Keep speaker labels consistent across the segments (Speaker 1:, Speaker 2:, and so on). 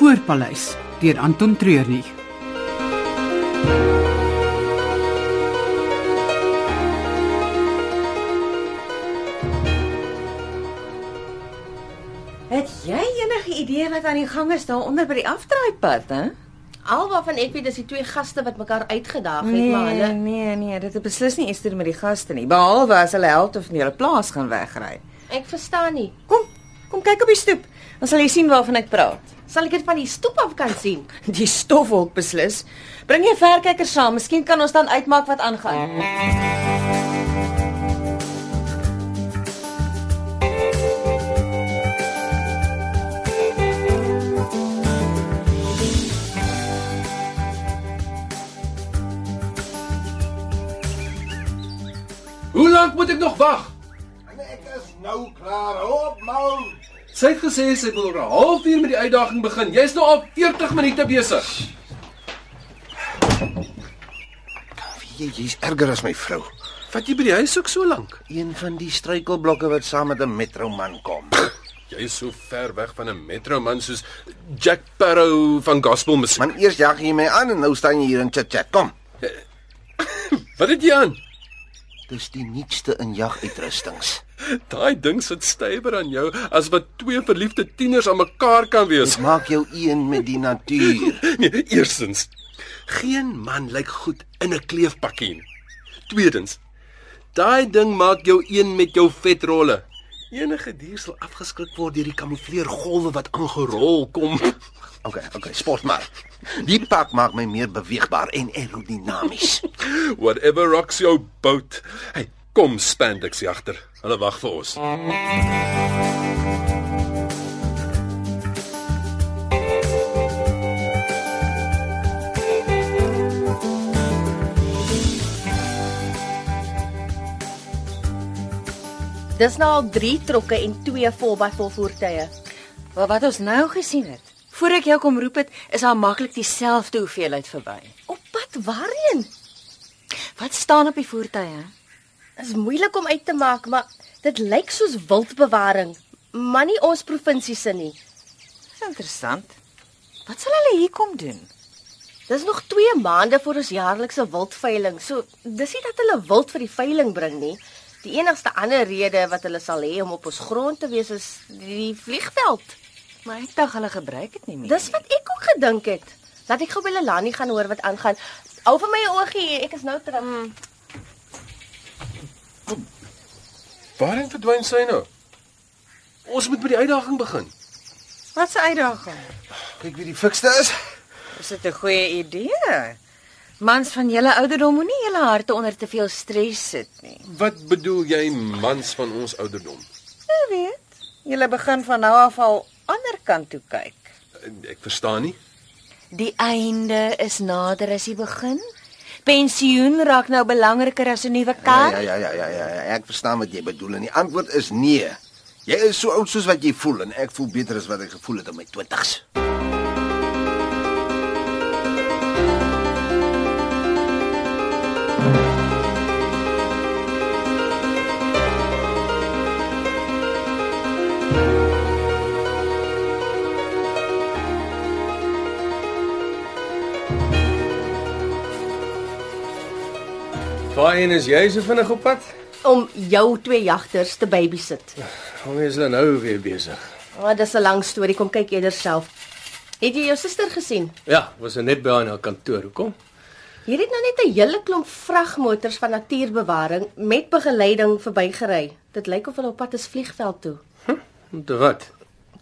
Speaker 1: Voorpaleis deur Anton Treurnig.
Speaker 2: Het jy enige idee wat aan die gang is daar onder by die afdraaipad, hè?
Speaker 3: Al waarvan ek weet is die twee gaste wat mekaar uitgedaag het,
Speaker 2: Nee,
Speaker 3: maar hulle
Speaker 2: nee, nee, dit het beslis nie iets te doen met die gaste nie, behalwe as hulle helfte van hulle plaas gaan wegry.
Speaker 3: ek verstaan nie.
Speaker 2: Kom, kom kyk op die stoep. Dan sal jy sien waarvan ek praat.
Speaker 3: Sal ek dit van die stoep af kan sien?
Speaker 2: Die stofwolk beslis. Bring jou verkyker saam, miskien kan ons dan uitmaak wat aangaan.
Speaker 4: Hoe lank moet ek nog wag?
Speaker 5: Ek is nou klaar. nou. Op man.
Speaker 4: Sy het gesê sy wil oor 'n halfuur met die uitdaging begin. Jy's nou al 40 minute besig.
Speaker 5: Jy jy's erger as my vrou.
Speaker 4: Wat jy by die huis soek so lank?
Speaker 5: Een van die struikelblokke wat saam met 'n metroman kom.
Speaker 4: Jy is so ver weg van 'n metroman soos Jack Sparrow van gospel musiek.
Speaker 5: Man, eers jag jy my aan en nou staan jy hier en chit-chat. Kom.
Speaker 4: Wat het jy aan?
Speaker 5: Dis die nuutste in jaguitrustings.
Speaker 4: Daai ding sit stywer aan jou as wat twee verliefde tieners aan mekaar kan wees.
Speaker 5: Dit maak jou een met die natuur.
Speaker 4: Nee, eerstens, geen man lyk goed in 'n kleefpakkie nie. Tweedens, daai ding maak jou een met jou vetrolle. Enige dier sal afgeskrik word deur die kamoufleergolwe wat aangerol kom.
Speaker 5: Okay, okay, sport maar. Die pak maak my meer beweegbaar en aerodinamies.
Speaker 4: Whatever rocks your boat. Hey, kom spandex jagter. Hulle wag vir ons.
Speaker 3: Dis nou al 3 trokke en 2 volbyvol voertuie.
Speaker 2: Maar wat ons nou gesien het, voor ek jou kom roep het, is daar maklik dieselfde hoeveelheid verby.
Speaker 3: Op pad waarheen?
Speaker 2: Wat staan op die voertuie?
Speaker 3: Is moeilik om uit te maak, maar dit lyk soos wildbewaring, maar nie ons provinsie se nie.
Speaker 2: Dis interessant. Wat sal hulle hier kom doen?
Speaker 3: Dis nog 2 maande voor ons jaarlikse wildveiling. So, dis nie dat hulle wild vir die veiling bring nie. Die enigste ander rede wat hulle sal hê om op ons grond te wees is die vliegveld.
Speaker 2: Maar ek dink hulle gebruik dit nie meer.
Speaker 3: Nee. Dis wat ek ook gedink het. Laat ek gou by Lelani gaan hoor wat aangaan. Hou vir my 'n oogie, ek is nou terug. Mm.
Speaker 4: Waarheen verdwyn sy nou? Ons moet met die uitdaging begin.
Speaker 2: wat se uitdaging.
Speaker 5: Kyk wie die fikste is.
Speaker 2: Is dit 'n goeie idee? Mans van julle ouderdom moenie julle harte onder te veel stres sit nie.
Speaker 4: Wat bedoel jy mans van ons ouderdom?
Speaker 2: Jy weet, julle begin van nou af al ander kant toe kyk.
Speaker 4: Ek verstaan nie.
Speaker 2: Die einde is nader as die begin. Pensioen raak nou belangriker as 'n nuwe
Speaker 5: Ja,
Speaker 2: kar.
Speaker 5: ja, ja, ja, ja, ja. Ek verstaan wat jy bedoel en die antwoord is nee. Jy is so oud soos wat jy voel en ek voel beter as wat ek gevoel het in my 20's.
Speaker 4: Waarheen is jy so vinnig op pad?
Speaker 3: Om jou twee jagters te babysit.
Speaker 4: Hoe is hulle nou weer besig?
Speaker 3: Maar dis 'n lang storie, kom kyk eerder self. Het jy jou suster gesien?
Speaker 6: Ja, was hy net by haar in haar kantoor. Hoekom?
Speaker 3: Hier het nou net 'n hele klomp vragmotors van natuurbewaring met begeleiding verbygery. Dit lyk of hulle op pad is vliegveld toe.
Speaker 6: Om te wat?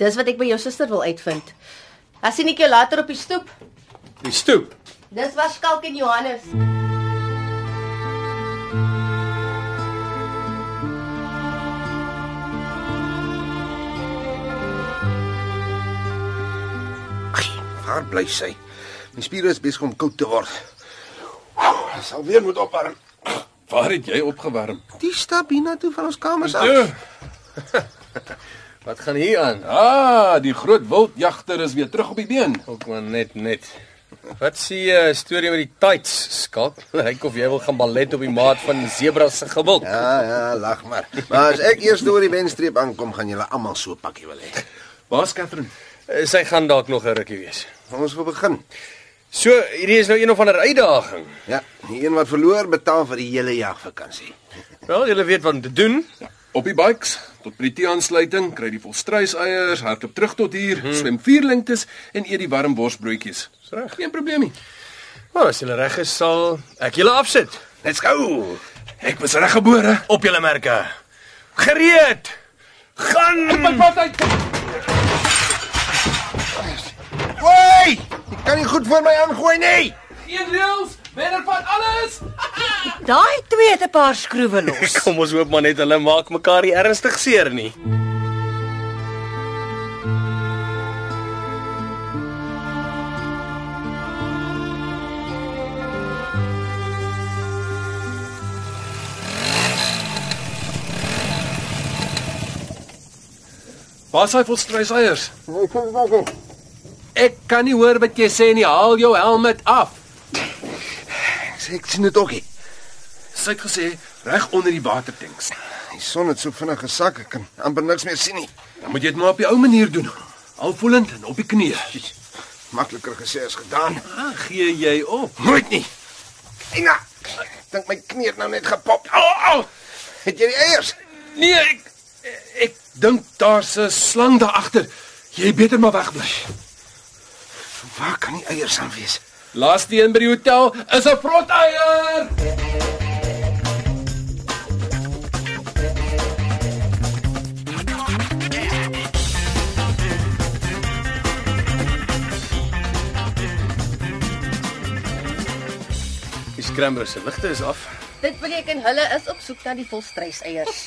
Speaker 3: Dis wat ek by jou suster wil uitvind. As sien ek jou later op die stoep.
Speaker 6: Die stoep.
Speaker 3: Dis was Skalk en Johannes.
Speaker 5: Waar bly sy? My spiere is besig om koud te word. Oeh, Ek sal weer moet opwarm.
Speaker 4: Waar het jy opgewarm?
Speaker 5: Die stap hiernatoe van ons kamers af.
Speaker 4: Toe. Ja.
Speaker 6: Wat gaan hier aan?
Speaker 4: Ah, die groot wildjagter is weer terug op die been.
Speaker 6: Ook maar net net. Wat sê jy uh, storie met die tights skalk? Lyk of jy wil gaan ballet op die maat van Zebra se gewild. Ja.
Speaker 5: Ja, ja, lag maar. Maar as ek eers deur die wenstreep aankom, gaan julle almal so 'n pakkie wil hê.
Speaker 4: Waar's Katherine?
Speaker 6: Eh, Sy gaan dalk nog 'n rukkie wees.
Speaker 5: Ons wil begin.
Speaker 6: So, hierdie is nou een of ander uitdaging.
Speaker 5: Ja, die een wat verloor betaal vir die hele jagvakansie.
Speaker 6: Wel, julle weet wat om te doen.
Speaker 4: Op die bikes tot by die T-aansluiting kry die volstruiseiers, hardloop terug tot hier,
Speaker 6: Mhm.
Speaker 4: hmm. swem vier lengtes en eet die warm borsbroodjies. Dis reg. Geen probleem nie.
Speaker 6: Maar as julle reg is, sal ek julle afsit.
Speaker 5: Let's go.
Speaker 4: Ek was reggebore.
Speaker 6: Op julle merke. Gereed. Gaan.
Speaker 4: Pad uit.
Speaker 5: Hoi! Jy kan nie goed vir my aangooi nie.
Speaker 4: Een reels, wenner van alles.
Speaker 2: Daai twee het 'n paar skroewe los.
Speaker 6: Kom ons hoop maar net hulle maak mekaar nie ernstig seer nie.
Speaker 4: Waar is hy volstruiseiers?
Speaker 5: Ja, Ek sê dit nog nie.
Speaker 4: Ek kan nie hoor wat jy sê nie. Haal jou helm af.
Speaker 5: Ek sê ek sien dit ook nie.
Speaker 4: Sy het gesê reg onder die watertanks.
Speaker 5: Die son het so vinnig gesak, ek kan amper niks meer sien nie.
Speaker 4: Dan moet jy dit maar op die ou manier doen. Alvoelend en op die knieë.
Speaker 5: Makliker gesê as gedaan.
Speaker 4: Ah, gee jy op?
Speaker 5: Nooit nie. Ina, ek dink my knie het nou net gepop.
Speaker 4: Au, au.
Speaker 5: Het jy die eiers?
Speaker 4: Nee, ek ek dink daar's 'n slang daar agter. Jy beter maar wegbly.
Speaker 5: Waar kan die eiers aan wees?
Speaker 4: Laaste een by die hotel is 'n vroteier.
Speaker 6: Die scrambler se ligte is af.
Speaker 3: Dit beteken hulle is op soek na die volstruiseiers.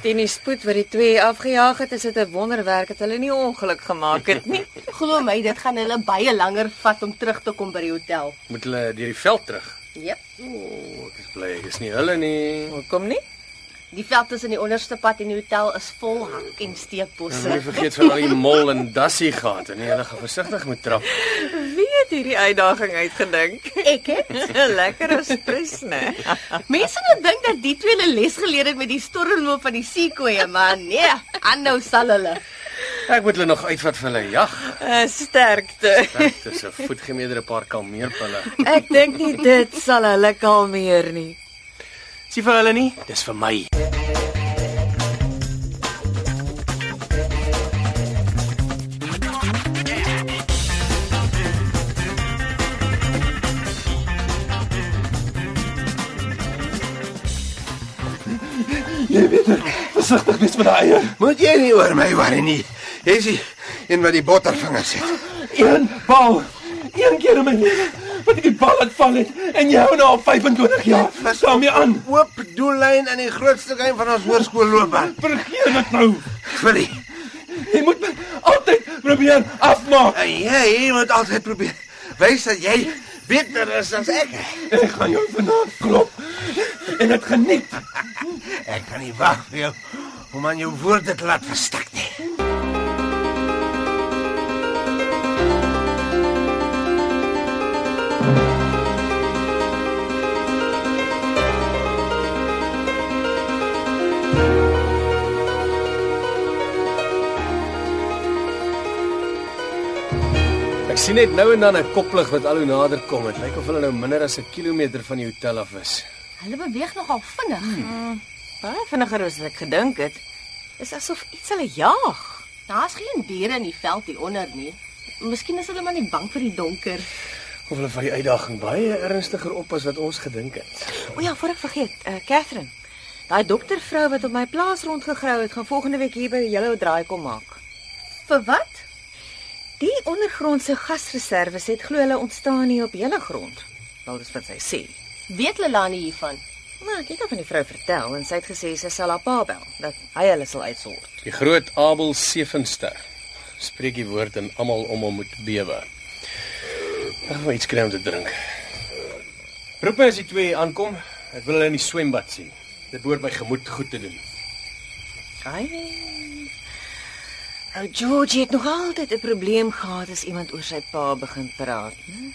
Speaker 2: Teen die spoed wat die twee afgejaag het, is dit 'n wonderwerk dat hulle nie ongeluk gemaak het nie.
Speaker 3: Glo my, dit gaan hulle baie langer vat om terug te kom by die hotel.
Speaker 6: Moet hulle deur die veld terug.
Speaker 3: Jep.
Speaker 6: O, ek is bly. Dis nie hulle nie.
Speaker 2: Hoekom nie?
Speaker 3: Die veld tussen die onderste pad en die hotel is vol hak en steekbosse.
Speaker 6: Moenie vergeet van al die mol en dassie gehad en nie, hulle gaan versigtig moet trap.
Speaker 2: Wie het hierdie uitdaging uitgedink?
Speaker 3: Ek het
Speaker 2: Lekker surprise, né?
Speaker 3: mense nou dink dat die twee hulle les geleer het met die stormloop van die seekoeie, maar nee, aanhou sal hulle.
Speaker 6: Ek moet hulle nog uitvat vir hulle jag.
Speaker 2: Eh, Sterkte.
Speaker 6: Dit is 'n voetgemeerde paar kalmeerpille.
Speaker 2: Ek dink nie dit sal hulle kalmeer nie.
Speaker 6: Sien vir hulle nie, dis vir my.
Speaker 4: Versigtig wees met daai eier.
Speaker 5: Moet jy nie oor my worry nie. Jy's die een wat die bottervingers het.
Speaker 4: Een bal. Een keer in my lewe wat ek die bal laat val het en jy hou nou al 25 jaar daarmee aan.
Speaker 5: Oop doellyn in die grootste geheim van ons hoërskoolloopbaan.
Speaker 4: Vergeet dit nou.
Speaker 5: Vir die
Speaker 4: Jy moet my altyd probeer afmaak.
Speaker 5: en jy, jy moet altyd probeer wys dat jy beter is as ek.
Speaker 4: Ek gaan jou vanaand klop en dit geniet.
Speaker 5: Ek kan nie wag vir jou om aan jou woorde te laat verstik nie.
Speaker 6: Ek sien net nou en dan 'n koplig wat al hoe nader kom. Dit lyk of hulle nou minder as 'n kilometer van die hotel af is.
Speaker 3: Hulle beweeg nogal vinnig.
Speaker 2: Hmm. Baie vinniger as wat ek gedink het. Is asof iets hulle jaag.
Speaker 3: Daar's geen diere in die veld hier onder nie. Miskien is hulle maar net bang vir die donker.
Speaker 6: Of hulle vat die uitdaging baie ernstiger op as wat ons gedink het.
Speaker 2: O ja, voor ek vergeet, eh Catherine. Daai doktervrou wat op my plaas rondgegrou het, gaan volgende week hier by julle 'n draai kom maak.
Speaker 3: Vir wat?
Speaker 2: Die ondergrondse gasreserves het glo hulle ontstaan nie op hele grond. Wel dis wat sy sê.
Speaker 3: Weet Lelani hiervan?
Speaker 2: Maar ek het haar van die vrou vertel en sy het gesê sy sal haar pa bel dat hy hulle sal uitsort.
Speaker 6: Die groot Abel Sevenster. Spreek die woord en almal om hom moet bewe. Ek wil iets kry om te drink. Roep my as die twee aankom. Ek wil hulle in die swembad sien. Dit behoort my gemoed goed te doen.
Speaker 2: Ai. Ou Georgie het nog altyd 'n probleem gehad as iemand oor sy pa begin praat, né?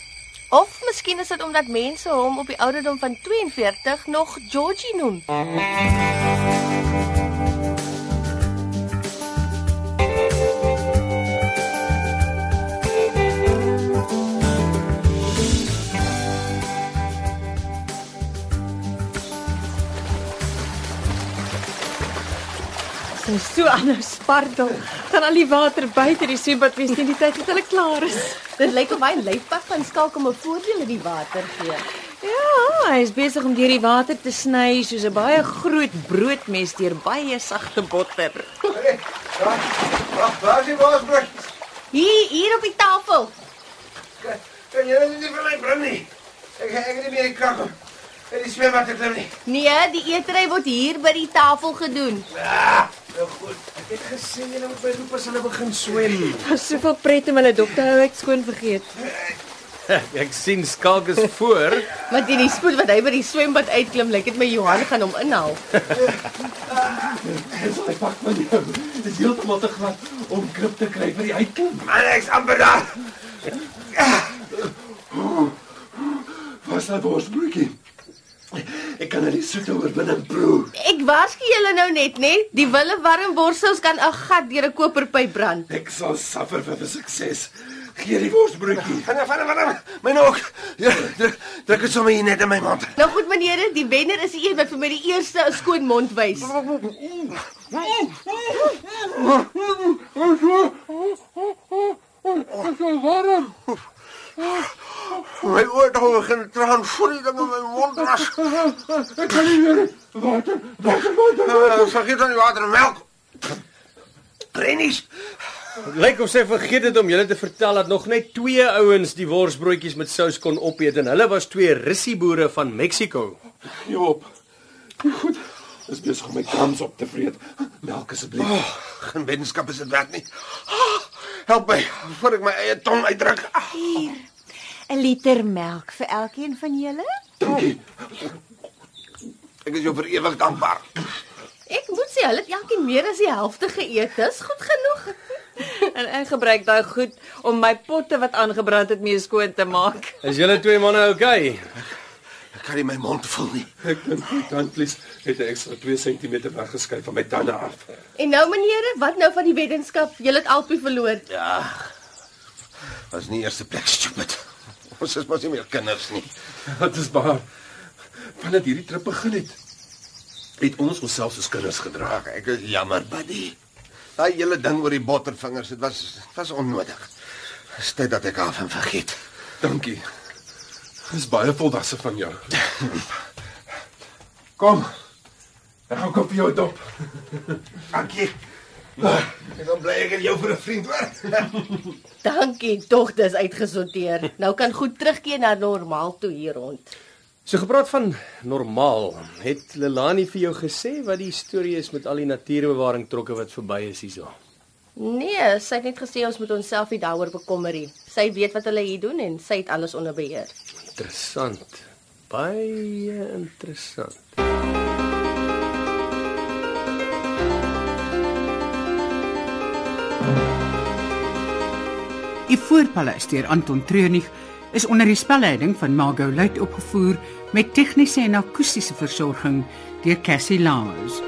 Speaker 3: Of miskien is dit omdat mense hom op die ouderdom van 42 nog Georgie noem.
Speaker 2: Dis so anders spartel. Gaan al die water buite die seebad wees teen die tyd wat hulle klaar is.
Speaker 3: Dit lyk of hy 'n lyfpak gaan skalk om 'n voordeel uit die water gee.
Speaker 2: Ja, hy is besig om deur die water te sny soos 'n baie groot broodmes deur baie sagte botter.
Speaker 5: Wag, waar is die wasblik?
Speaker 3: Hier, hier op die tafel.
Speaker 5: Kan jy dit nie vir my bring nie? Ek ek het nie meer die krag om. Dit is weer wat ek klim nie.
Speaker 3: Nee, die eetery word hier by die tafel gedoen.
Speaker 5: Nou goed. Ek het gesê jy moet by roepers hulle begin swem.
Speaker 2: Daar's soveel pret om hulle dop te hou, ek skoon vergeet.
Speaker 6: Ek sien skalk is voor.
Speaker 3: Maar teen die spoed wat hy by die swembad uitklim, lyk dit my Johan gaan hom inhaal.
Speaker 7: Hy pak van jou. Dit is heeltemal te glad om grip te kry by die uitklim.
Speaker 5: Man, ek's amper daar.
Speaker 7: Was daai worsbroodjie? Ek kan hulle soet oorwin en proe.
Speaker 3: Ek waarsku julle nou net, né? Die wille warm worstels kan 'n gat deur 'n koperpyp brand.
Speaker 7: Ek sal suffer vir 'n sukses. Gee die worsbroodjie.
Speaker 5: Gaan van van van. My nog. Ja, druk druk dit sommer hier net in my mond.
Speaker 3: Nou goed meneere, die wenner is die een wat vir my die eerste 'n skoon mond wys.
Speaker 5: My oë het al begin traan voor die ding in my mond was.
Speaker 7: Ek kan nie meer water, water, water.
Speaker 5: Eh, Vergeet dan die water en melk. Rennies.
Speaker 6: Lyk of sy vergeet het om julle te vertel dat nog net twee ouens die worsbroodjies met sous kon opeet en hulle was twee russieboere van Mexiko.
Speaker 7: Gee op. Goed. Dis besig om my krams op te vreet. Melk asseblief.
Speaker 5: Oh, geen wetenskap is dit werk nie. Ah, Help my voor ek my eie tong uitdruk. Ah,
Speaker 2: 'n Liter melk vir elkeen van julle?
Speaker 7: Dankie.
Speaker 5: Ek is jou vir ewig dankbaar.
Speaker 3: Ek moet sê hulle het elkeen meer as die helfte geëet. Dis goed genoeg.
Speaker 2: En ek gebruik daai goed om my potte wat aangebrand het mee skoon te maak.
Speaker 6: Is julle twee manne okay?
Speaker 5: Ek kan nie my mond vul nie.
Speaker 7: Ek dink my tandvleis het 'n ekstra 2 cm weggeskuif van my tande af.
Speaker 3: En nou meneere, wat nou van die weddenskap? Julle het albei verloor.
Speaker 5: Ja. Was nie eerste plek stupid. Ons is mos nie meer kinders nie.
Speaker 7: Dit is waar. Vandat hierdie trip begin het, het ons onsself soos kinders gedra.
Speaker 5: Ag, ek is Ah, jammer, buddy. Daai hele ding oor die bottervingers, dit was dit was onnodig. Dis tyd dat ek af en vergeet.
Speaker 7: Dankie. Dis baie volwasse van jou. Kom. Ek gaan koop vir jou dop.
Speaker 5: Dankie. Ek is bly ek het jou vir 'n vriend hoor.
Speaker 3: Dankie, tog dis uitgesorteer. Nou kan goed terugkeer na normaal toe hier rond.
Speaker 6: So gepraat van normaal, het Lelani vir jou gesê wat die storie is met al die natuurbewaring trokke wat verby is hierso?
Speaker 3: Nee, sy het net gesê ons moet onsself nie daaroor bekommer nie. Sy weet wat hulle hier doen en sy het alles onder beheer.
Speaker 6: Interessant. Baie interessant.
Speaker 1: Die Voorpaleis deur Anton Treurnig is onder die spelleiding van Margot Luit opgevoer met tegniese en akoestiese versorging deur Cassie Lawrence.